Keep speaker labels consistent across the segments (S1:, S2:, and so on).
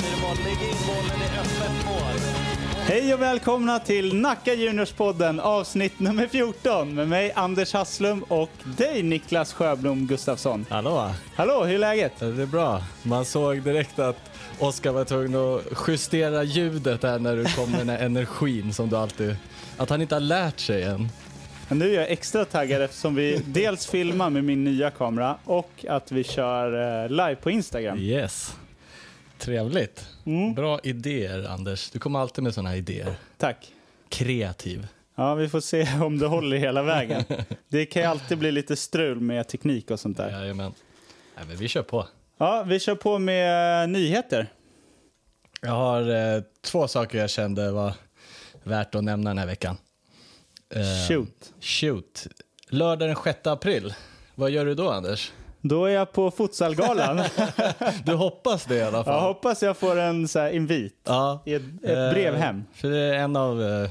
S1: in bollen i öppet mål.
S2: Hej och välkomna till Nacka Juniors-podden avsnitt nummer 14 med mig Anders Hasslum och dig Niklas Sjöblom Gustafsson.
S3: Hallå!
S2: Hallå, hur är läget?
S3: Det är bra. Man såg direkt att Oskar var tvungen att justera ljudet här när du kom med den här energin som du alltid... Att han inte har lärt sig än.
S2: Men nu är jag extra taggad eftersom vi dels filmar med min nya kamera och att vi kör eh, live på Instagram.
S3: Yes. Trevligt. Bra idéer, Anders. Du kommer alltid med sådana här idéer.
S2: Tack.
S3: Kreativ.
S2: Ja, vi får se om det håller hela vägen. Det kan ju alltid bli lite strul med teknik och sånt där.
S3: Jajamän. Nej, men vi kör på.
S2: Ja, vi kör på med eh, nyheter.
S3: Jag har eh, två saker jag kände var värt att nämna den här veckan. Eh,
S2: Shoot.
S3: Shoot. Lördag den 6 april. Vad gör du då, Anders?
S2: Då är jag på futsalgalan.
S3: Du hoppas det i alla fall.
S2: Jag hoppas jag får en så här invit.
S3: Ja.
S2: I ett, ett brev
S3: Eh,
S2: hem.
S3: För det är en av eh,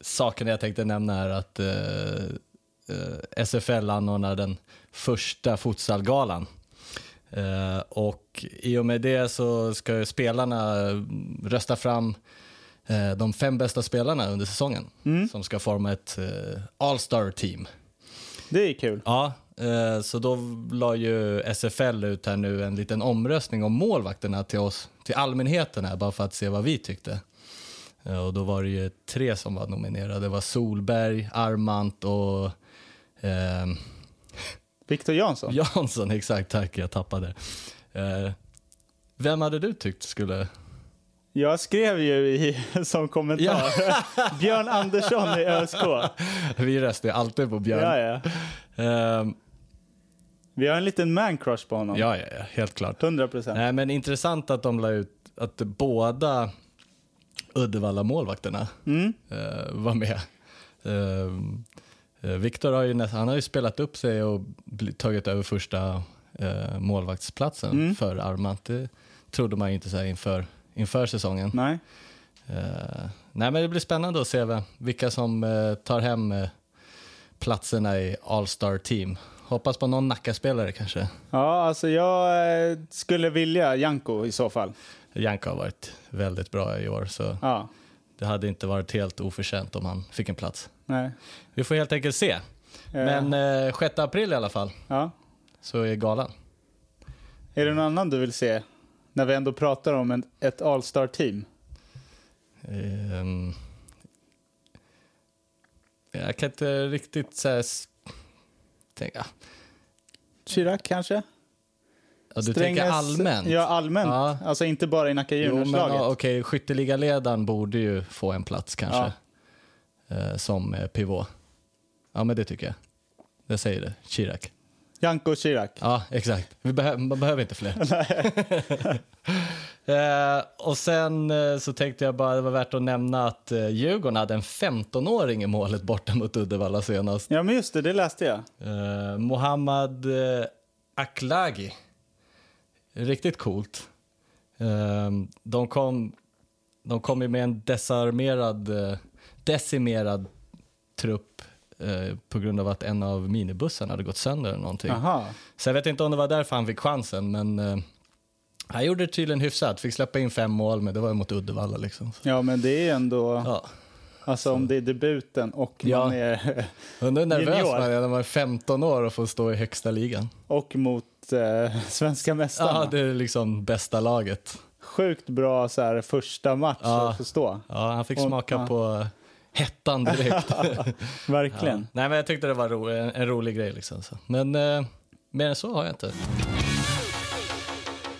S3: sakerna jag tänkte nämna är att eh, eh, SFL anordnar den första futsalgalan. Eh, och i och med det så ska ju spelarna eh, rösta fram eh, de fem bästa spelarna under säsongen
S2: Mm.
S3: som ska forma ett eh, All-star team.
S2: Det är kul.
S3: Ja, eh, så då la ju SFL ut här nu en liten omröstning om målvakterna till oss, till allmänheten här, bara för att se vad vi tyckte. Eh, Och då var det ju tre som var nominerade. Det var Solberg, Armant och ehm,
S2: Viktor Jansson?
S3: Jansson. Exakt, tack, jag tappade. Eh, vem hade du tyckt skulle...
S2: Jag skrev ju i, som kommentar Björn Andersson i ÖSK. Ja,
S3: Vi röstar ju alltid på Björn.
S2: ja.
S3: Ehm,
S2: Vi har en liten man-crush på honom.
S3: ja, ja, ja helt klart.
S2: 100 procent.
S3: Nej, men intressant att de la ut att båda Uddevalla-målvakterna eh, var med. Eh, Viktor har ju, nästan- han har ju spelat upp sig och bli- tagit över första eh, målvaktsplatsen för Armant. Det trodde man ju inte så här inför, inför säsongen.
S2: Nej.
S3: Eh, nej, men det blir spännande att se vem, vilka som eh, tar hem eh, platserna i All-Star Team. Hoppas på någon Nacka-spelare kanske.
S2: Ja, alltså jag eh, skulle vilja Janko i så fall.
S3: Janka har varit väldigt bra i år, så
S2: Ja,
S3: Det hade inte varit helt oförtjänt om han fick en plats.
S2: nej.
S3: Vi får helt enkelt se. Men eh, 6 april i alla fall
S2: Ja.
S3: så är galan.
S2: Är det någon annan du vill se? När vi ändå pratar om en, ett All-star-team.
S3: Ehm, jag kan inte riktigt så här, s- tänka.
S2: Chirac kanske?
S3: Ja, du
S2: Strängnäs-
S3: tänker allmänt?
S2: Ja, allmänt.
S3: Ja.
S2: Alltså inte bara i Nacka
S3: Jo, men,
S2: Juniors-laget.
S3: ja, okej, skytteligaledaren borde ju få en plats kanske. Eh, som eh, pivot. Ja, men det tycker jag. Jag säger det. Chirac.
S2: Janko och Chirac.
S3: Ja, exakt. Vi behö- man behöver inte fler. eh, och sen eh, så tänkte jag bara det var värt att nämna att eh, Djurgården hade en 15-åring i målet borta mot Uddevalla senast.
S2: Ja, men just det, det läste jag.
S3: Eh, Mohammad eh, Aklagi. Riktigt coolt. Eh, de, kom, de kom ju med en desarmerad, eh, decimerad trupp eh, på grund av att en av minibussarna hade gått sönder eller någonting.
S2: Aha.
S3: Så jag vet inte om det var därför han fick chansen, men eh, han gjorde det tydligen hyfsat. Fick släppa in fem mål, men det var ju mot Uddevalla liksom. Så,
S2: Ja, men det är ändå...
S3: ja.
S2: Alltså om det är debuten och
S3: Ja.
S2: man är...
S3: Undrar hur nervös
S2: Junior.
S3: man är när man är 15 år och får stå i högsta ligan.
S2: Och mot eh, svenska mästarna.
S3: Ja, det är liksom bästa laget.
S2: Sjukt bra så här, första match
S3: Ja.
S2: att förstå.
S3: Ja, han fick
S2: Och-
S3: smaka
S2: ja.
S3: på hettan direkt. ja.
S2: Verkligen.
S3: Nej, men jag tyckte det var ro, en, en rolig grej liksom. Så. Men eh, mer än så har jag inte.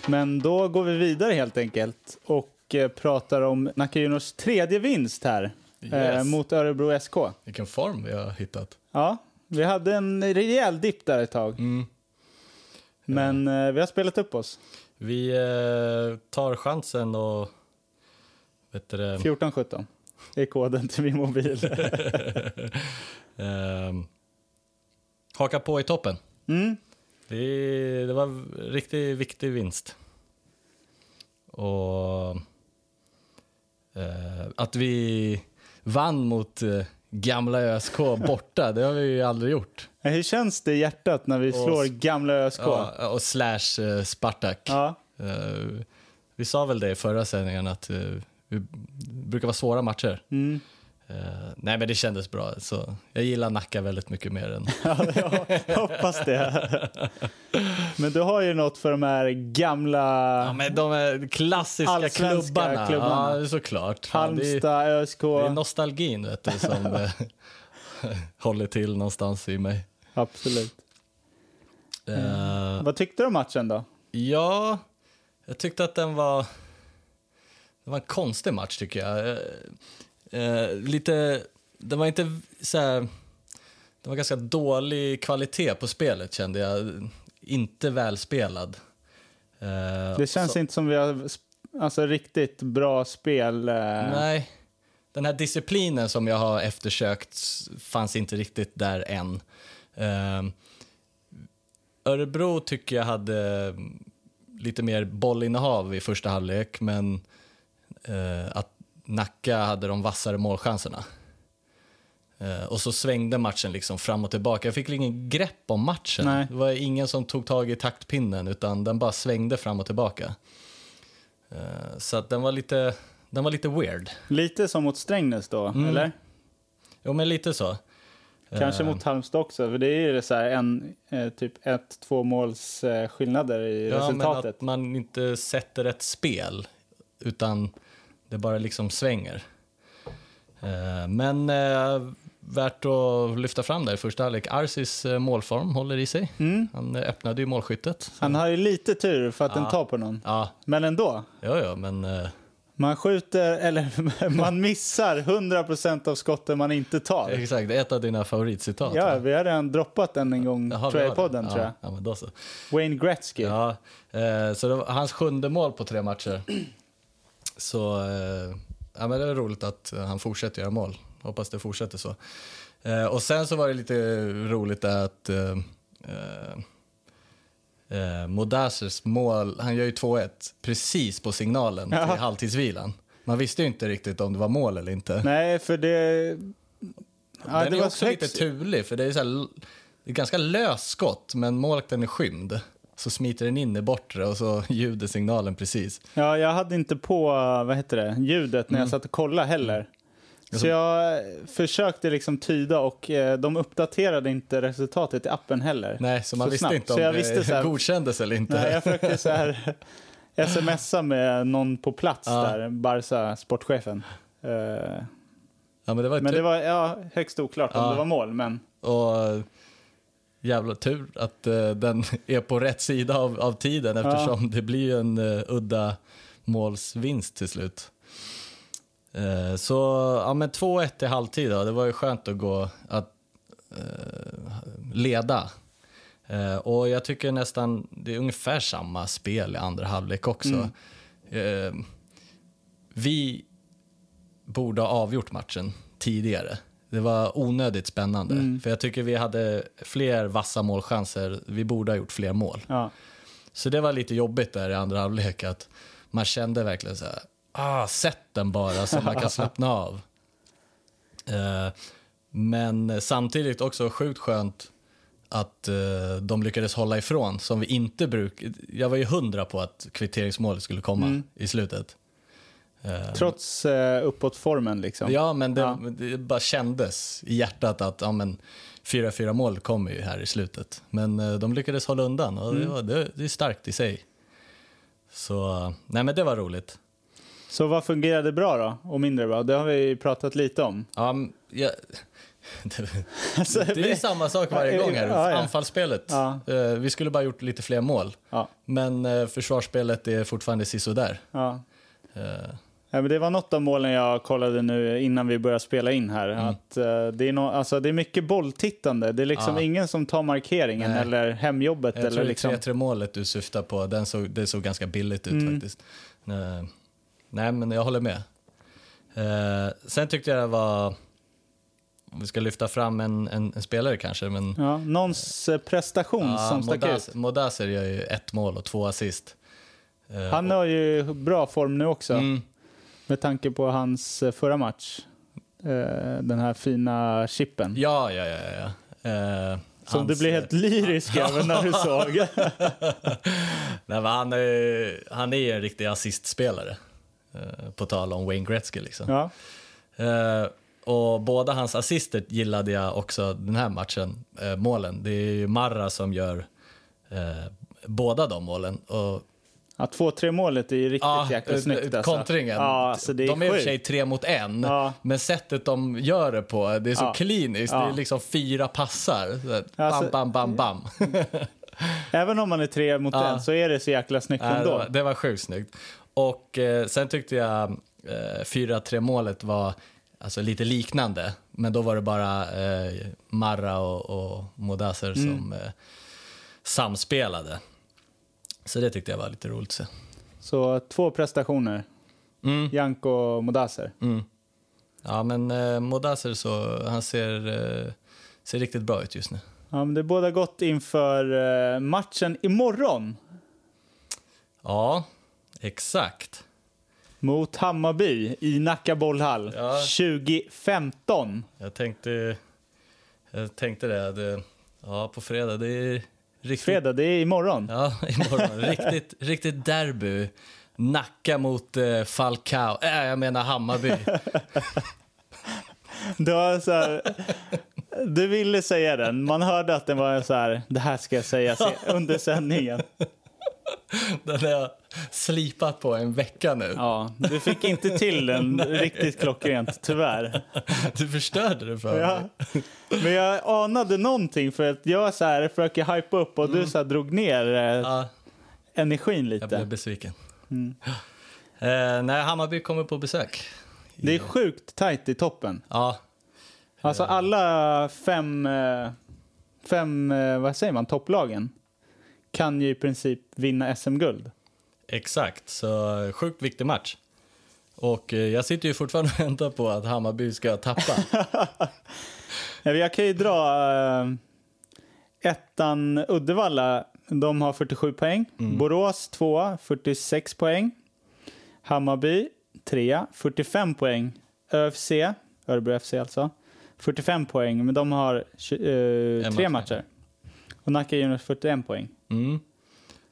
S2: Men då går vi vidare helt enkelt och eh, pratar om Nacka Juniors tredje vinst här eh,
S3: Yes.
S2: mot Örebro SK.
S3: Vilken form vi har hittat.
S2: Ja, vi hade en rejäl dipp där ett tag. Men eh, vi har spelat upp oss.
S3: Vi eh, tar chansen och... Vet du, det,
S2: 14-17 är koden till min mobil.
S3: Ehm, haka på i toppen.
S2: Mm.
S3: Det, det var en riktigt viktig vinst. Och eh, att vi vann mot eh, gamla ÖSK borta, det har vi ju aldrig gjort.
S2: Hur känns det i hjärtat när vi slår gamla ÖSK?
S3: Ja, och slash eh, Spartak.
S2: Ja.
S3: Eh, vi sa väl det i förra sändningen att eh, vi brukar vara svåra matcher.
S2: Mm.
S3: Eh, nej, men det kändes bra. Så jag gillar Nacka väldigt mycket mer än...
S2: Ja, jag hoppas det. Men du har ju något för de här gamla
S3: ja, men de är klassiska
S2: Allsvenska
S3: klubbarna.
S2: klubbarna.
S3: Ja, såklart. Fan, det är-
S2: Halmstad, ÖSK.
S3: Det är nostalgin vet du, som eh, håller till någonstans i mig.
S2: Absolut.
S3: Eh,
S2: Vad tyckte du om matchen då?
S3: ja, jag tyckte att den var... Det var en konstig match, tycker jag. Eh, eh, lite... Den var inte så här... Det var ganska dålig kvalitet på spelet, kände jag. Inte välspelad. Eh,
S2: Det känns
S3: så-
S2: inte som vi har sp- alltså, riktigt bra spel. eh.
S3: Nej. Den här disciplinen som jag har eftersökt fanns inte riktigt där än. Ehm, Örebro tycker jag hade lite mer bollinnehav i första halvlek men eh, att Nacka hade de vassare målchanserna. Eh, och så svängde matchen liksom fram och tillbaka. Jag fick ingen grepp om matchen.
S2: Nej.
S3: Det var ingen som tog tag i taktpinnen utan den bara svängde fram och tillbaka. Eh, så att den var lite, den var lite weird.
S2: Lite som mot Strängnäs då,
S3: Mm.
S2: eller?
S3: Jo, men lite så. Eh.
S2: Kanske mot Halmstad också, för det är ju så här en, eh, typ ett, två måls eh, skillnader i
S3: Ja, men
S2: resultatet.
S3: att man inte sätter ett spel, utan det bara liksom svänger. Eh, Men eh, värt att lyfta fram där i första halvlek. Arsis eh, målform håller i sig.
S2: Mm.
S3: Han eh, öppnade ju målskyttet.
S2: Han har ju lite tur för att den
S3: Ja.
S2: tar på någon.
S3: Ja,
S2: Men ändå,
S3: ja, ja men eh,
S2: man skjuter, eller man missar 100% av skotten man inte tar.
S3: exakt, det är ett av dina favoritcitat.
S2: Ja,
S3: va?
S2: vi har redan droppat den en gång
S3: Jaha, vi
S2: tror jag,
S3: har
S2: i podden
S3: det.
S2: tror jag.
S3: ja, ja, men då så.
S2: Wayne Gretzky.
S3: Ja, eh, så det var hans sjunde mål på tre matcher. Så eh, ja, men det är roligt att eh, han fortsätter göra mål. Hoppas det fortsätter så. Eh, och sen så var det lite roligt att eh, eh, eh, Modasers mål, han gör ju 2-1 precis på signalen till
S2: Ja.
S3: halvtidsvilan. Man visste ju inte riktigt om det var mål eller inte.
S2: Nej, för det... Ja,
S3: Den
S2: det
S3: är
S2: var
S3: också
S2: högst-
S3: lite tulig, för det är, så här, l- det är ganska löst skott, men målvakten är skymd. Så smiter den in i bortre och så ljuder signalen precis.
S2: Ja, jag hade inte på vad heter det, ljudet när jag
S3: Mm.
S2: satt och kollade heller. Så jag eh, försökte liksom tyda och eh, de uppdaterade inte resultatet i appen heller.
S3: Nej, så man visste
S2: snabbt.
S3: inte om
S2: så jag
S3: det
S2: visste så här,
S3: godkändes eller inte.
S2: nej, Jag försökte så här smsa med någon på plats
S3: Ja.
S2: där, Barca, sportchefen. Eh,
S3: Ja, men det var ju
S2: Men det
S3: tur.
S2: var ja, högst oklart om
S3: Ja.
S2: det var mål, men
S3: Och eh, jävla tur att eh, den är på rätt sida av, av tiden eftersom det blir ju en eh, udda målsvinst till slut. Eh, så ja, men 2-1 i halvtid, då. det var ju skönt att gå att eh, leda. Eh, och jag tycker nästan det är ungefär samma spel i andra halvlek också. Eh, vi borde ha avgjort matchen tidigare. Det var onödigt spännande. För jag tycker vi hade fler vassa målchanser. Vi borde ha gjort fler mål.
S2: ja.
S3: Så det var lite jobbigt där i andra halvlek att man kände verkligen så här, ah, sätt den bara så man kan slappna av. Eh, men samtidigt också sjukt skönt att eh, de lyckades hålla ifrån som vi inte brukar. Jag var ju hundra på att kvitteringsmålet skulle komma i slutet. Eh,
S2: trots eh, uppåtformen liksom.
S3: Ja, men det,
S2: Ja.
S3: det bara kändes i hjärtat att ja, men 4-4 mål kommer ju här i slutet. Men eh, de lyckades hålla undan och
S2: Mm.
S3: det, var, det, det är starkt i sig. Så nej, men det var roligt.
S2: Så vad fungerade bra då, och mindre bra? Det har vi ju pratat lite om.
S3: Ja, m- ja, det,
S2: Alltså,
S3: det är samma sak varje gång här.
S2: Ja, ja.
S3: Anfallsspelet.
S2: Ja.
S3: Eh, Vi skulle bara gjort lite fler mål.
S2: ja,
S3: Men eh, försvarsspelet är fortfarande sisådär.
S2: ja.
S3: Eh,
S2: Ja, men det var något av målen jag kollade nu innan vi började spela in här.
S3: Mm.
S2: Att, eh, det, är no, alltså, det är mycket bolltittande. Det är liksom
S3: Ja.
S2: ingen som tar markeringen
S3: Nej.
S2: eller hemjobbet.
S3: Jag
S2: Eller
S3: tror
S2: liksom.
S3: det är 3-3 målet du syftar på, den såg, det såg ganska billigt ut
S2: Mm.
S3: faktiskt. Eh, Nej, men jag håller med. Eh, sen tyckte jag det var, vi ska lyfta fram en, en, en spelare kanske, men
S2: ja, någons eh, prestation
S3: ja,
S2: Mm, som stack
S3: Modas-
S2: ut.
S3: Modaser gör ju ett mål och två assist. Eh,
S2: Han har ju bra form nu också.
S3: Mm.
S2: Med tanke på hans eh, förra match. Eh, den här fina chippen.
S3: Ja, ja, ja. ja, ja. Eh,
S2: Som du
S3: Hans,
S2: blev helt lyrisk över när du såg.
S3: Nej, men han, är, han är en riktig assistspelare, eh, på tal om Wayne Gretzky. Liksom.
S2: Ja.
S3: Eh, och båda hans assister gillade jag också den här matchen, eh, målen. Det är ju Marra som gör eh, båda de målen. Och,
S2: Ja, 2-3 målet är ju riktigt jäkla
S3: eh,
S2: snyggt. Alltså.
S3: Kontringen.
S2: Ja, alltså det är
S3: de är i och för
S2: sjukt.
S3: sig tre mot en,
S2: Ja.
S3: men sättet de gör det på, det är så
S2: Ja.
S3: kliniskt. Det
S2: Ja.
S3: är liksom fyra passar. Så här,
S2: Alltså-
S3: bam, bam, bam, bam.
S2: Även om man är tre mot
S3: Ja.
S2: en så är det så jäkla snyggt
S3: Nej, Äh, det,
S2: ändå.
S3: var, det var sjukt snyggt. Och eh, sen tyckte jag eh, 4-3 målet var alltså, lite liknande. Men då var det bara eh, Marra och, och Modasser som eh, samspelade. Så det tyckte jag var lite roligt att se.
S2: Så två prestationer.
S3: Mm.
S2: Janko och Modaser.
S3: Ja, men eh, Modasser så, han ser, eh, ser riktigt bra ut just nu.
S2: Ja, men det båda gott inför eh, matchen imorgon
S3: Ja, exakt.
S2: mot Hammarby i Nacka bollhall
S3: Ja.
S2: 2015.
S3: Jag tänkte, jag tänkte det. det ja, på fredag. Det är riktigt
S2: Fredag, det är imorgon.
S3: Ja, imorgon. Riktigt, riktigt derby. Nacka mot eh, Falcao. Äh, jag menar Hammarby.
S2: Du, har så här, du ville säga den. Man hörde att den var så här, det här ska jag säga se- under sändningen.
S3: Den har jag slipat på en vecka nu.
S2: Ja, du fick inte till den riktigt klockrent, tyvärr.
S3: Du förstörde det för
S2: Ja.
S3: mig.
S2: Men jag anade någonting för att jag så här försöker hypa upp och du så här drog ner eh,
S3: Mm. Ja,
S2: energin
S3: jag blev
S2: lite.
S3: besviken.
S2: Mm.
S3: Eh, nej, Hammarby kommer på besök.
S2: Det är sjukt tajt i toppen.
S3: Ja,
S2: Alltså alla fem, eh, fem eh, vad säger man, topplagen kan ju i princip vinna SM-guld.
S3: exakt. Så sjukt viktig match. Och eh, jag sitter ju fortfarande och väntar på att Hammarby ska tappa.
S2: Ja, Jag kan ju dra eh, ettan Uddevalla. De har 47 poäng.
S3: Mm.
S2: Borås tvåa, 46 poäng. Hammarby trea, 45 poäng. ÖFC, Örebro FC alltså, 45 poäng. Men de har tju- eh,
S3: En
S2: tre
S3: match.
S2: matcher. Och Nacka Juniors 41 poäng.
S3: Mm.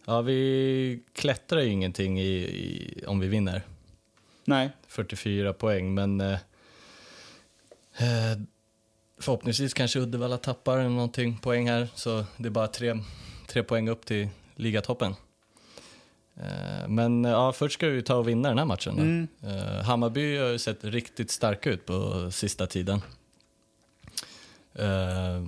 S3: Ja, vi klättrar ju ingenting i, i, om vi vinner.
S2: Nej,
S3: 44 poäng, men eh, eh, förhoppningsvis kanske Uddevalla tappar någonting poäng här, så det är bara tre, tre poäng upp till ligatoppen. Eh, men eh, ja, först ska vi ta och vinna den här matchen. Då.
S2: Mm.
S3: Eh, Hammarby har ju sett riktigt starka ut på sista tiden. Eh,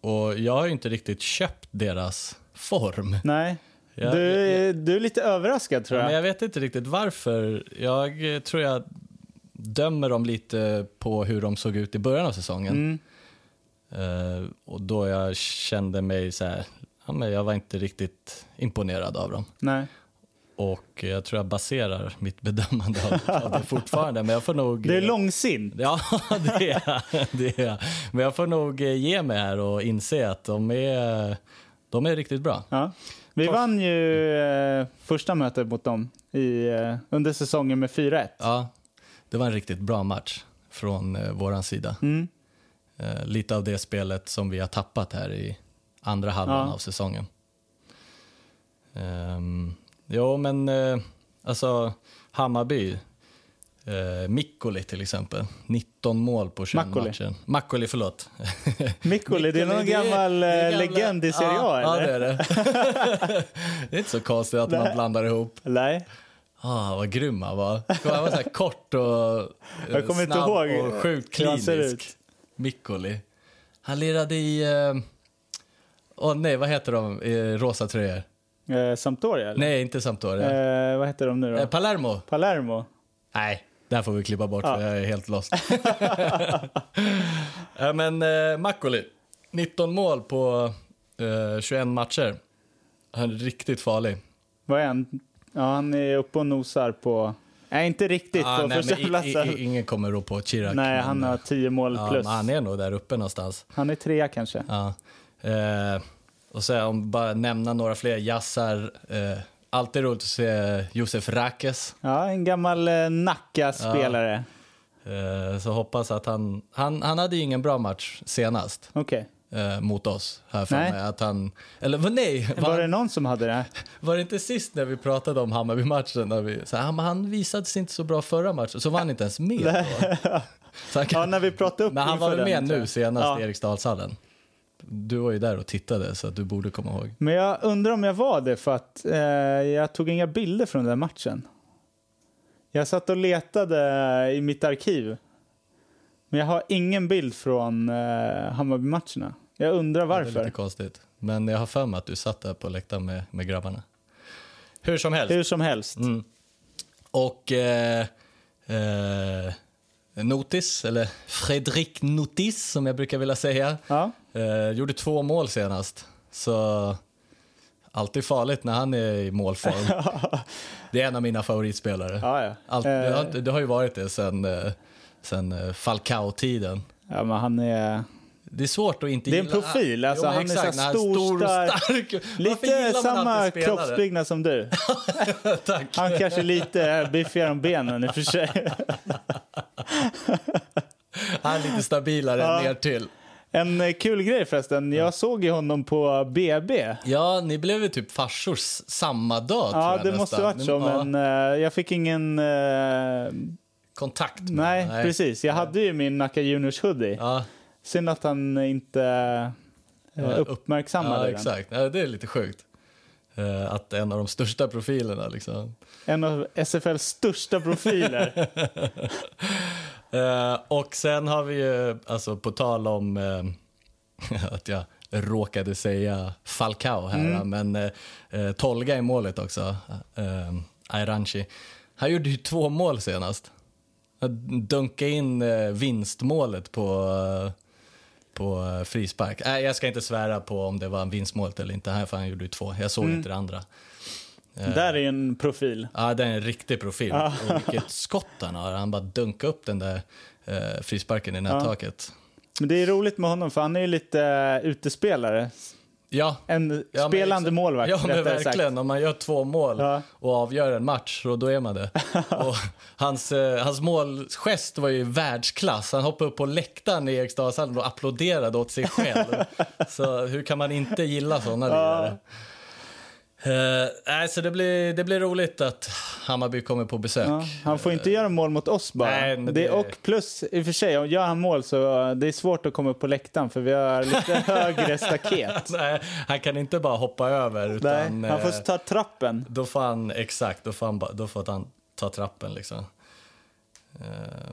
S3: och jag har ju inte riktigt köpt deras form.
S2: nej.
S3: Jag-
S2: du, du är lite överraskad tror
S3: Ja,
S2: jag.
S3: men jag vet inte riktigt varför. Jag eh, tror jag dömer dem lite på hur de såg ut i början av säsongen.
S2: Mm.
S3: Eh, och då jag kände mig så här, ja, men jag var inte riktigt imponerad av dem.
S2: Nej.
S3: Och eh, jag tror jag baserar mitt bedömande av, av det fortfarande. Men jag får nog... eh,
S2: Du är långsint.
S3: Ja, det är, jag. det är jag. Men jag får nog eh, ge mig här och inse att de är, de är riktigt bra.
S2: Ja. Vi vann ju eh, första mötet mot dem i, eh, under säsongen med 4-1.
S3: Ja, det var en riktigt bra match från eh, våran sida.
S2: Mm.
S3: Eh, lite av det spelet som vi har tappat här i andra halvan
S2: Ja.
S3: av säsongen. Um, jo, men eh, alltså Hammarby, eh, Mikkoli till exempel, 19 mål på 21
S2: Makkoli.
S3: matcher. Makkoli, förlåt.
S2: Mikkoli, det är någon
S3: det är-
S2: gammal
S3: det
S2: eh,
S3: är gamla-
S2: legend i Serie A,
S3: ja, Ja,
S2: eller?
S3: det är det. det är inte så konstigt att man blandar ihop.
S2: Nej.
S3: Ah, vad grym han var. Han var så här kort och eh,
S2: Jag kommer inte
S3: snabb
S2: ihåg
S3: och sjukt
S2: hur han ser
S3: klinisk.
S2: ut.
S3: Mikkoli. Han lirade i... eh, Åh nej, vad heter de? Eh, rosa tröjor?
S2: Eh, Sampdoria, eller?
S3: Nej, inte Sampdoria.
S2: Eh, vad heter de nu då?
S3: Eh, Palermo?
S2: Palermo.
S3: Nej, det här får vi klippa bort
S2: Ja.
S3: för jag är helt lost. ja, men eh, Makkoli, 19 mål på eh, 21 matcher. Han är riktigt farlig.
S2: Vad är han? Ja, han är uppe och nosar på... Nej, inte riktigt
S3: Ah,
S2: på
S3: nej, men i-
S2: första platsen.
S3: i- i- Ingen kommer rå på Chirac.
S2: Nej,
S3: men,
S2: han
S3: eh,
S2: har tio mål
S3: Ja,
S2: plus.
S3: men han är nog där uppe någonstans.
S2: Han är trea kanske.
S3: Ja. Eh, och så om bara nämna några fler jazzar. Eh, alltid roligt att se Josef Rakes.
S2: Ja, en gammal eh, Nacka-spelare.
S3: Eh, så hoppas att han, han... Han hade ju ingen bra match senast.
S2: Okej.
S3: eh, mot oss här för
S2: Nej.
S3: mig. Att han, eller vad- nej,
S2: Var
S3: var,
S2: det någon som hade det?
S3: var det inte sist när vi pratade om Hammarby-matchen? När vi, så här, "Ja, men han visade sig inte så bra förra matchen, så var han inte ens med. Då. Så han kan,
S2: Ja, när vi pratade upp
S3: men han var
S2: inför
S3: väl med
S2: den, tror
S3: nu
S2: jag.
S3: senast
S2: Ja.
S3: i Eriksdalshallen. Du var ju där och tittade så att du borde komma ihåg.
S2: Men jag undrar om jag var det för att eh, jag tog inga bilder från den där matchen. Jag satt och letade i mitt arkiv. Men jag har ingen bild från eh, Hammarby-matcherna. Jag undrar
S3: Det är
S2: varför.
S3: lite konstigt. Men jag har för mig att du satt där på läktaren med, med grabbarna. Hur som helst.
S2: Hur som helst.
S3: Mm. Och eh, eh, Notis, eller Fredrik Notis som jag brukar vilja säga,
S2: Ja.
S3: eh, gjorde två mål senast. Så alltid farligt när han är i målform. det är en av mina favoritspelare.
S2: Ja, ja.
S3: Allt,
S2: Eh.
S3: det, har, inte- det har ju varit det sen, eh, sen eh, Falcao-tiden.
S2: ja, men han är...
S3: Det är svårt att inte
S2: Det är en
S3: gilla...
S2: profil, alltså,
S3: men
S2: han är så här
S3: när han
S2: stor, stark.
S3: stark. Varför gillar
S2: Lite
S3: man
S2: samma
S3: alltid spelare?
S2: kroppsbyggnad som du.
S3: Tack.
S2: Han kanske är lite biffigare om benen i och för sig.
S3: Han är lite stabilare
S2: Ja.
S3: ner till.
S2: En eh, kul grej förresten. Jag såg ju honom på BB.
S3: Ja, ni blev ju typ farsor s- samma dag tror
S2: Ja,
S3: jag
S2: det
S3: nästan.
S2: måste varit så,
S3: ja,
S2: men eh, jag fick ingen... eh,
S3: Kontakt med
S2: Nej,
S3: nej.
S2: precis. Jag hade ju min Nacka Juniors hoodie.
S3: Ja,
S2: Synd att han inte eh,
S3: Ja, upp-
S2: uppmärksammade
S3: ja
S2: den.
S3: exakt. Ja, det är lite sjukt. Eh, Att en av de största profilerna liksom.
S2: En av SFLs största profiler.
S3: Eh, Och sen har vi ju, alltså på tal om eh, att jag råkade säga Falcao här, men eh, eh, Tolga i målet också, eh, Ayranchi. Han gjorde ju två mål senast. Han dunkade in eh, vinstmålet på, eh, på eh, frispark. Nej, jag ska inte svära på om det var en vinstmål eller inte, här, för han gjorde ju två. Jag såg inte det andra.
S2: Där är en profil.
S3: Ja, det är en riktig profil. Och vilket skott han har. Han bara dunkar upp den där eh, frisparken i nättaket.
S2: Men det är roligt med honom för han är ju lite eh, utespelare.
S3: Ja.
S2: En
S3: Ja, men
S2: spelande
S3: exakt.
S2: målvakt.
S3: Ja, men
S2: rättare sagt.
S3: verkligen. Om man gör två mål
S2: Ja.
S3: och avgör en match, så då är man det. och hans, eh, hans målgest var ju världsklass. Han hoppade upp på läktaren i Eriksdalshallen och applåderade åt sig själv. så hur kan man inte gilla såna lirare? Eh, nej, så det blir, det blir roligt att Hammarby kommer på besök.
S2: Ja, han får inte göra mål mot oss bara.
S3: Nej, men
S2: det...
S3: det-
S2: och plus, i och för sig, om gör han mål så eh, det är svårt att komma upp på läktaren för vi har lite högre staket.
S3: Nej, han kan inte bara hoppa över.
S2: Nej,
S3: Utan,
S2: han får
S3: eh,
S2: ta trappen.
S3: Då får han, exakt, då får han, ba- då får han ta trappen liksom. Eh,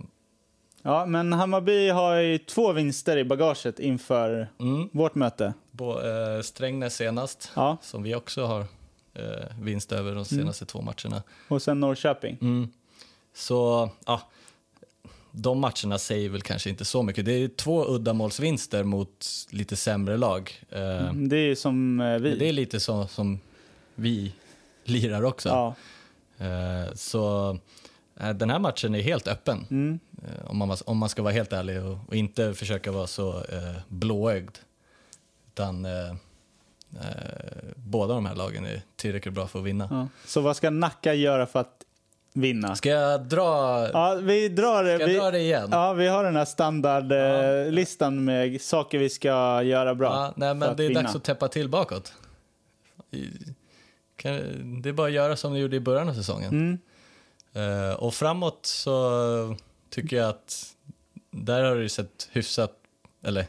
S2: Ja, men Hammarby har ju två vinster i bagaget inför
S3: Mm.
S2: vårt möte.
S3: Bo, eh, Strängnäs senast,
S2: Ja, Mm.
S3: som vi också har eh, vinst över de senaste två matcherna. Mm.
S2: och sen Norrköping.
S3: Så, ja. De matcherna säger väl kanske inte så mycket. Det är två uddamålsvinster mot lite sämre lag. Eh,
S2: Det är ju som eh, vi.
S3: men Det är lite så som vi lirar också.
S2: ja.
S3: Eh, Så eh, den här matchen är helt öppen,
S2: Mm.
S3: Eh, om, man, om man ska vara helt ärlig och, och inte försöka vara så eh, blåögd. Utan eh, eh, båda de här lagen är tillräckligt bra för att vinna.
S2: ja. Så vad ska Nacka göra för att vinna?
S3: Ska jag dra,
S2: Ja, vi drar det.
S3: ska jag
S2: Vi,
S3: dra det igen?
S2: ja, vi har den här standardlistan med saker vi ska göra bra.
S3: Ja, nej,
S2: för
S3: men
S2: att
S3: det är
S2: vinna.
S3: dags att täppa till bakåt. I- Kan, det är bara att göra som ni gjorde i början av säsongen.
S2: Mm,
S3: Eh, och framåt så tycker jag att där har det ju sett hyfsat, eller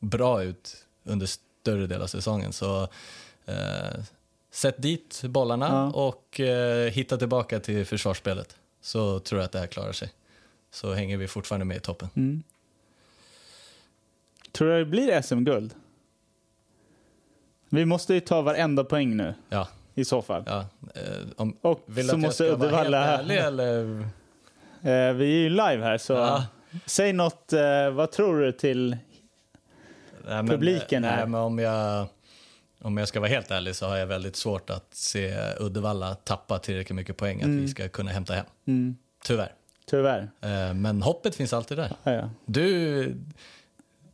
S3: bra ut under större del av säsongen. Så eh, sätt dit bollarna och eh, hitta tillbaka till försvarsspelet. Så tror jag att det här klarar sig. Så hänger vi fortfarande med i toppen.
S2: mm. Tror du det blir SM-guld? Vi måste ju ta varenda poäng nu
S3: Ja,
S2: i så fall.
S3: ja. Eh, om,
S2: Och
S3: Vill
S2: så
S3: att jag
S2: måste
S3: ska vara
S2: Uddevalla...
S3: helt ärlig, eller?
S2: Eh, vi är ju live här, så
S3: Ja.
S2: säg något. Eh, vad tror du till...
S3: Nej, men,
S2: Publiken
S3: nej,
S2: här.
S3: men om jag, om jag ska vara helt ärlig så har jag väldigt svårt att se Uddevalla tappa tillräckligt mycket poäng att
S2: Mm.
S3: vi ska kunna hämta hem. Tyvärr.
S2: Tyvärr.
S3: Eh, Men hoppet finns alltid där.
S2: Ja, ja.
S3: Du,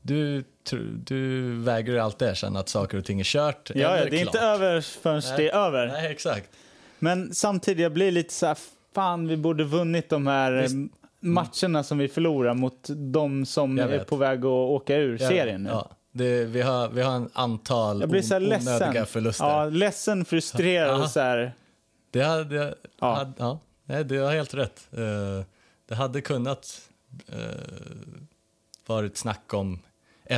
S3: du, tr- du vägrar ju alltid erkänna att saker och ting är kört
S2: Ja, ja,
S3: eller
S2: det är
S3: klart.
S2: inte över förrän det är över.
S3: Nej, exakt.
S2: Men samtidigt, jag blir lite så här, fan vi borde vunnit de här eh,
S3: Visst.
S2: matcherna som vi förlorar mot de som
S3: Jag
S2: är
S3: vet.
S2: på väg att åka ur
S3: Jag-
S2: serien nu.
S3: Ja. Det, vi, har, vi har en antal
S2: Jag blir så här
S3: on- onödiga
S2: ledsen.
S3: förluster.
S2: Ja, ledsen, frustrerad
S3: Ja.
S2: och så här.
S3: Det hade, det,
S2: Ja.
S3: hade, ja. Nej, du har helt rätt. Eh, det hade kunnat eh, varit snack om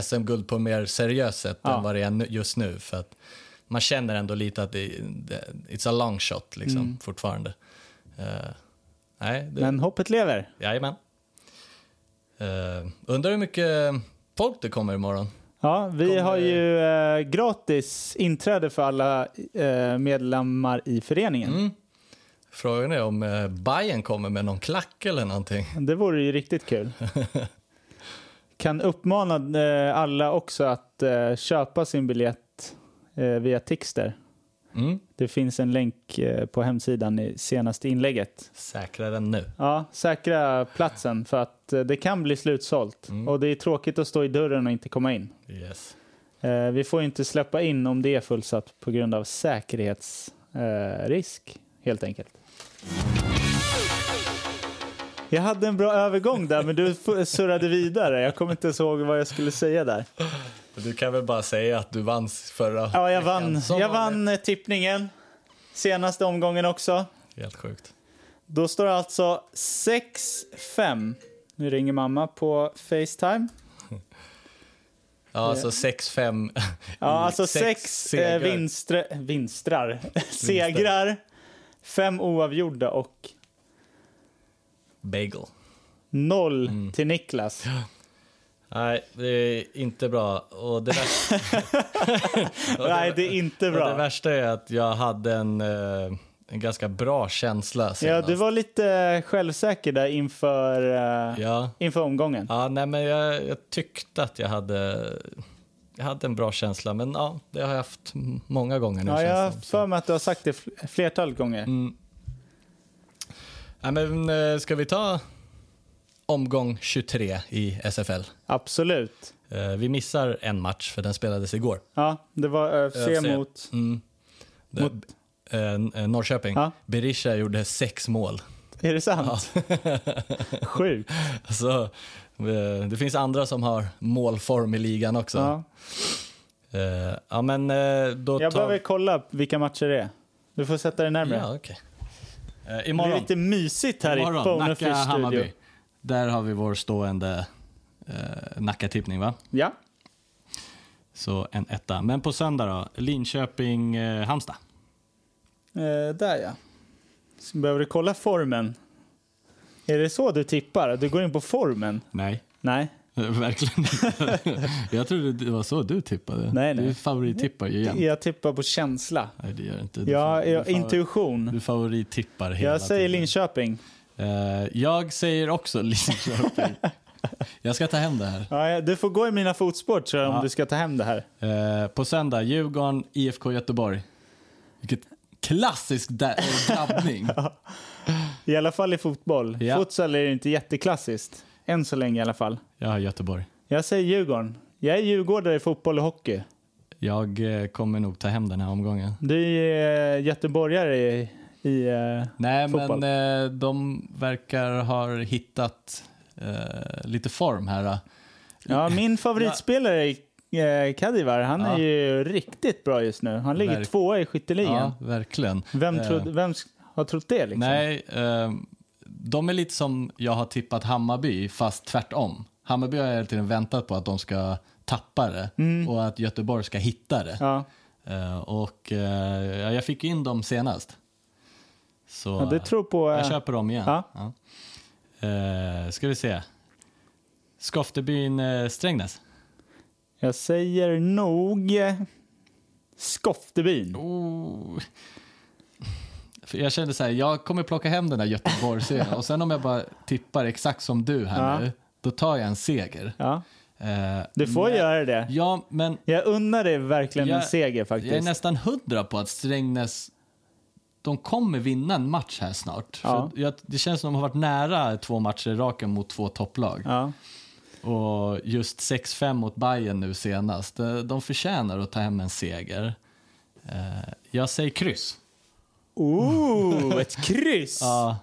S3: SM-guld på mer seriöst sätt
S2: Ja.
S3: än vad det är nu- just nu. För att man känner ändå lite att det, det, it's a long shot liksom, fortfarande. Eh, nej, det,
S2: Mm. Men hoppet lever.
S3: jajamän. Eh, undrar hur mycket folk det kommer imorgon.
S2: Ja, vi
S3: Kommer-
S2: har ju eh, gratis inträde för alla eh, medlemmar i föreningen.
S3: Mm. Frågan är om eh, Bayern kommer med någon klack eller någonting.
S2: Det vore ju riktigt kul. kan uppmana eh, alla också att eh, köpa sin biljett eh, via Tixter.
S3: Mm.
S2: Det finns en länk eh, på hemsidan i senaste inlägget.
S3: Säkra den nu.
S2: Ja, säkra platsen för att eh, det kan bli slutsålt. Och det är tråkigt att stå i dörren och inte komma in.
S3: Yes.
S2: Eh, vi får ju inte släppa in om det är fullsatt på grund av säkerhetsrisk, eh, risk, helt enkelt. Jag hade en bra övergång där, men du f- surrade vidare. Jag kommer inte ens ihåg vad jag skulle säga där.
S3: Du kan väl bara säga att du vann förra
S2: Ja, jag
S3: veckan.
S2: vann,
S3: Som
S2: jag
S3: vanligt.
S2: vann eh, tippningen. Senaste omgången också.
S3: Helt sjukt.
S2: Då står det alltså 6-5. Nu ringer mamma på Facetime.
S3: Ja, alltså 6-5.
S2: Ja, alltså sex, eh,
S3: segrar.
S2: vinstre, vinstrar, segrar, fem oavgjorda och
S3: Bagel.
S2: noll
S3: Mm.
S2: till Niklas.
S3: Nej, det är inte bra. Och det, värsta,
S2: Nej, det är inte
S3: och det
S2: bra.
S3: värsta är att jag hade en, eh, en ganska bra känsla senast.
S2: Ja, du var lite självsäker där inför, eh,
S3: Ja,
S2: inför omgången.
S3: ja nej, men jag, jag tyckte att jag hade... Jag hade en bra känsla, men ja, det har jag haft många gånger nu.
S2: Ja,
S3: känns
S2: jag
S3: det
S2: har
S3: som. Mm.
S2: för mig att du har sagt det fl- flertal gånger.
S3: Ja, men, eh, ska vi ta omgång 23 i SFL?
S2: Absolut.
S3: Eh, Vi missar en match för den spelades igår.
S2: Ja, det var ÖFC
S3: ÖFC.
S2: mot...
S3: Mm. Det-
S2: Mot-
S3: eh, N- eh, Norrköping.
S2: Ja.
S3: Berisha gjorde sex mål.
S2: Är det sant? Sjukt.
S3: Så, Alltså, eh, det finns andra som har målform i ligan också. Ja.
S2: Ja.
S3: ja, men, eh, då
S2: Jag
S3: tar...
S2: behöver kolla vilka matcher det är. Du får sätta dig närmare.
S3: Ja, okej. Eh,
S2: Det blir
S3: imorgon,
S2: lite mysigt här i
S3: imorgon
S2: Phone
S3: Nacka,
S2: Fish studio
S3: Hammarby. Där har vi vår stående eh, Nacka-tippning, va?
S2: Ja.
S3: Så en etta. Men på söndag då? Linköping-Halmstad.
S2: Eh, där ja. Så Behöver du kolla formen? Är det så du tippar? Du går in på formen?
S3: Nej.
S2: Nej.
S3: Eh, Verkligen inte. Jag trodde det var så du tippade.
S2: Nej, nej.
S3: Du favorittippar ju igen.
S2: Jag tippar på typ känsla.
S3: Nej, det gör inte. Du,
S2: Ja,
S3: favor-
S2: jag,
S3: du, favor-
S2: intuition.
S3: du favorittippar hela
S2: Jag säger
S3: tiden.
S2: Linköping.
S3: Eh, jag säger också Linköping. jag ska ta hem det här.
S2: Ja, ja, du får gå i mina fotspår tror jag,
S3: Ja.
S2: om du ska ta hem det här.
S3: Eh, på söndag, Djurgården, IFK Göteborg. Vilket klassisk da- eh, drabbning.
S2: I alla fall i fotboll.
S3: Ja.
S2: Futsal är ju inte jätteklassiskt. Än så länge i alla fall.
S3: jag har Göteborg.
S2: Jag säger Djurgården. Jag är djurgårdare i fotboll och hockey.
S3: Jag eh, kommer nog ta hem den här omgången.
S2: Du är eh, göteborgare i... i eh,
S3: Nej,
S2: Fotboll.
S3: men eh, de verkar ha hittat eh, lite form här. eh.
S2: Ja, min favoritspelare är eh, Kadivar. Han är
S3: Ja.
S2: ju riktigt bra just nu. Han ligger
S3: Verk-
S2: tvåa i skytteligan.
S3: Ja, verkligen.
S2: Vem,
S3: Eh,
S2: trodde, vem sk- har trott det? Liksom?
S3: Nej, eh, de är lite som jag har tippat Hammarby, fast tvärtom. Hammarby har jag hela tiden väntat på att de ska tappa det och att Göteborg ska hitta det.
S2: Mm. Ja.
S3: Eh, och eh, ja, jag fick in dem senast. Så
S2: Ja, du tror på... eh,
S3: jag köper dem igen.
S2: ja.
S3: Ja. Eh, ska vi se. Skoftebyn eh, Strängnäs.
S2: Jag säger nog eh, Skoftebyn.
S3: Oh. För jag kände så här, jag kommer plocka hem den där Göteborgsserien och sen om jag bara tippar exakt som du här
S2: Ja.
S3: nu, då tar jag en seger.
S2: Ja,
S3: Eh,
S2: du får
S3: men-
S2: göra det.
S3: Ja, men
S2: Jag unnar dig verkligen en
S3: Jag-
S2: seger faktiskt.
S3: jag är nästan hundra på att Strängnäs, de kommer vinna en match här snart.
S2: Ja.
S3: För jag, det känns som de har varit nära två matcher i raken mot två topplag.
S2: ja.
S3: Och just 6-5 mot Bayern nu senast, de, de förtjänar att ta hem en seger. Eh, jag säger kryss.
S2: Ooh, ett kryss!
S3: Ja,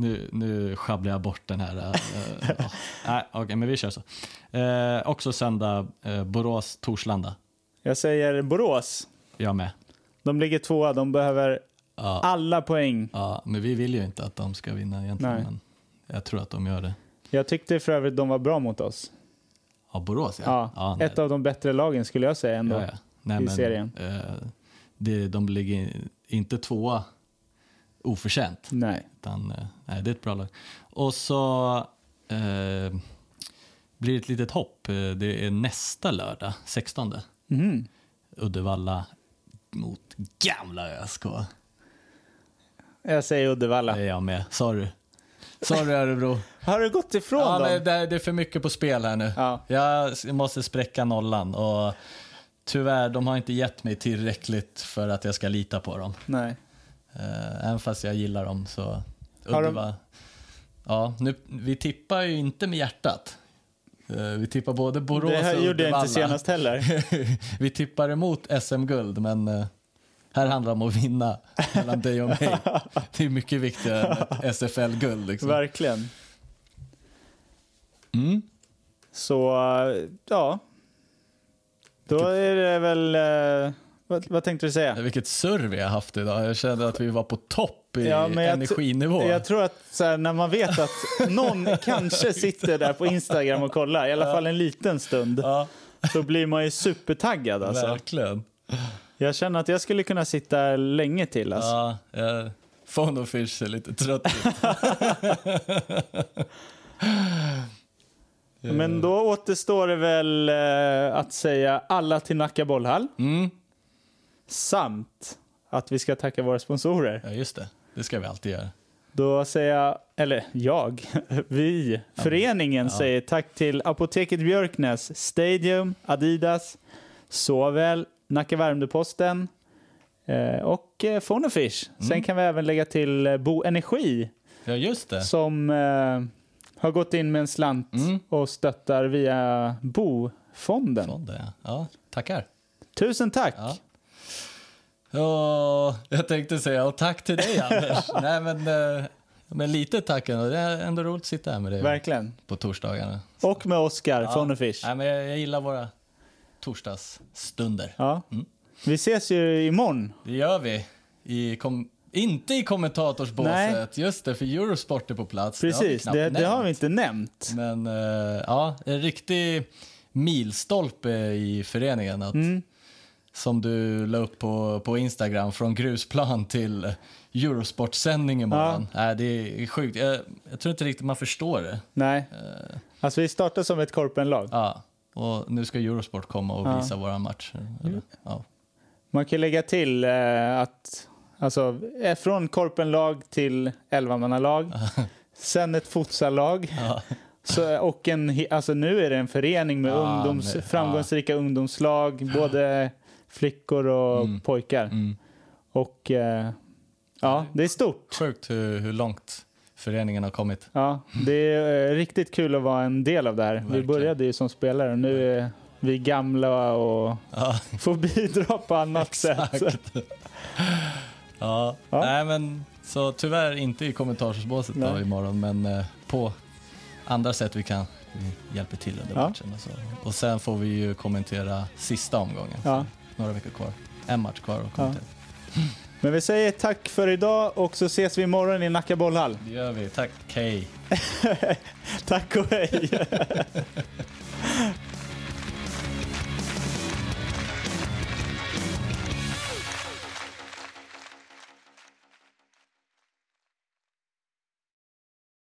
S3: Nu, nu sjabblar jag bort den här. eh, ja. Nej, Okej, men vi kör så. Eh, också söndag, eh, Borås-Torslanda.
S2: Jag säger Borås.
S3: Jag med.
S2: De ligger tvåa, de behöver
S3: Ja.
S2: alla poäng.
S3: Ja, men vi vill ju inte att de ska vinna egentligen.
S2: Nej.
S3: Men jag tror att de gör det.
S2: Jag tyckte för övrigt de var bra mot oss.
S3: Ja, Borås ja.
S2: Ja,
S3: nej.
S2: ett av de bättre lagen skulle jag säga ändå.
S3: ja, ja. Nej,
S2: i
S3: men,
S2: serien.
S3: Eh, det, de ligger inte tvåa oförtjänt.
S2: Nej.
S3: Utan, eh, nej, det är ett bra lag. Och så eh, blir det ett litet hopp. Eh, Det är nästa lördag, 16.
S2: Mhm.
S3: Uddevalla mot gamla ÖSK.
S2: Jag säger Uddevalla.
S3: Det är jag med. Sorry. Sorry Örebro.
S2: Har du gått ifrån
S3: Ja,
S2: dem?
S3: men det, det är för mycket på spel här nu.
S2: Ja.
S3: Jag s- måste spräcka nollan och tyvärr, de har inte gett mig tillräckligt för att jag ska lita på dem.
S2: Nej.
S3: Eh, även fast jag gillar dem så...
S2: Har de-
S3: Uddeva- Ja, nu, vi tippar ju inte med hjärtat. Eh, vi tippar både Borås
S2: Det här
S3: och
S2: gjorde jag inte
S3: Uddevalla.
S2: senast heller.
S3: vi tippar emot SM-guld, men eh, här handlar det om att vinna mellan dig och mig. Det är mycket viktigare än ett SFL-guld. Liksom.
S2: Verkligen.
S3: Mm.
S2: Så, eh, ja. Då är det väl... eh, Vad, vad tänkte du säga?
S3: Vilket surr vi har haft idag. Jag kände att vi var på topp i
S2: Ja, men jag tr-
S3: energinivå.
S2: Jag tror att så här, när man vet att någon kanske sitter där på Instagram och kollar, i alla fall en liten stund,
S3: ja,
S2: så blir man ju supertaggad. Alltså.
S3: verkligen.
S2: Jag känner att jag skulle kunna sitta här länge till. Alltså.
S3: Ja, eh, Phone och Fish ser lite trött ut.
S2: Men då återstår det väl eh, att säga alla till Nacka bollhall,
S3: Mm.
S2: samt att vi ska tacka våra sponsorer.
S3: Ja, just det. Det ska vi alltid göra.
S2: Då säger jag, eller jag, vi, föreningen säger tack till Apoteket Björknäs, Stadium, Adidas, såväl Nacka Värmdö-Posten eh, och eh, Fonofish.
S3: Mm.
S2: Sen kan vi även lägga till eh, Bo Energi
S3: Ja, just det.
S2: som eh, har gått in med en slant
S3: Mm.
S2: och stöttar via Bofonden.
S3: Från det. Ja, tackar.
S2: Tusen tack!
S3: Ja. Åh, jag tänkte säga och tack till dig, Anders. Nej, men, eh, men lite tack ändå. Det är ändå roligt att sitta här med dig
S2: Verkligen.
S3: på torsdagarna.
S2: Och med Oscar, ja. Fonofish.
S3: Nej, men jag, jag gillar våra torsdagsstunder.
S2: Ja. Vi ses ju imorgon.
S3: Det gör vi. I kom inte i kommentatorsbåset. Just det, för Eurosport är på plats.
S2: Precis,
S3: knappt
S2: det, det har
S3: nämnt.
S2: vi inte nämnt.
S3: Men eh, ja, en riktig milstolpe i föreningen. Att,
S2: Mm.
S3: Som du la upp på, på Instagram, från grusplan till Eurosport-sändning imorgon. Nej, det är sjukt. Jag, jag tror inte riktigt man förstår det. Eh,
S2: Nej. Alltså vi startar som ett korpenlag.
S3: Ja. Och nu ska Eurosport komma och visa våra matcher.
S2: Mm.
S3: Eller? Ja.
S2: Man kan lägga till eh, att alltså, eh, från korpenlag till elvamannalag. Sen ett futsallag. Så, och en, he- alltså, nu är det en förening med
S3: Ja,
S2: ungdoms,
S3: men- ja.
S2: framgångsrika ungdomslag. Både flickor och
S3: Mm.
S2: pojkar. Och eh, ja, det är stort.
S3: Sjukt hur, hur långt föreningen har kommit.
S2: Ja, det är eh, riktigt kul att vara en del av det här. Vi
S3: Verkligen.
S2: började ju som spelare och nu är vi gamla och
S3: Ja.
S2: får bidra på annat sätt.
S3: Ja.
S2: Ja.
S3: Nej, men, så tyvärr inte i kommentarsbåset då
S2: Nej.
S3: imorgon, men eh, på andra sätt vi kan. Vi hjälper till under
S2: Ja.
S3: matchen och så. Och sen får vi ju kommentera sista omgången.
S2: Ja.
S3: Några veckor kvar. En match kvar att kommentera.
S2: Men vi säger tack för idag och så ses vi imorgon i Nacka bollhall.
S3: Det gör vi. Tack. Hej.
S2: Tack och hej!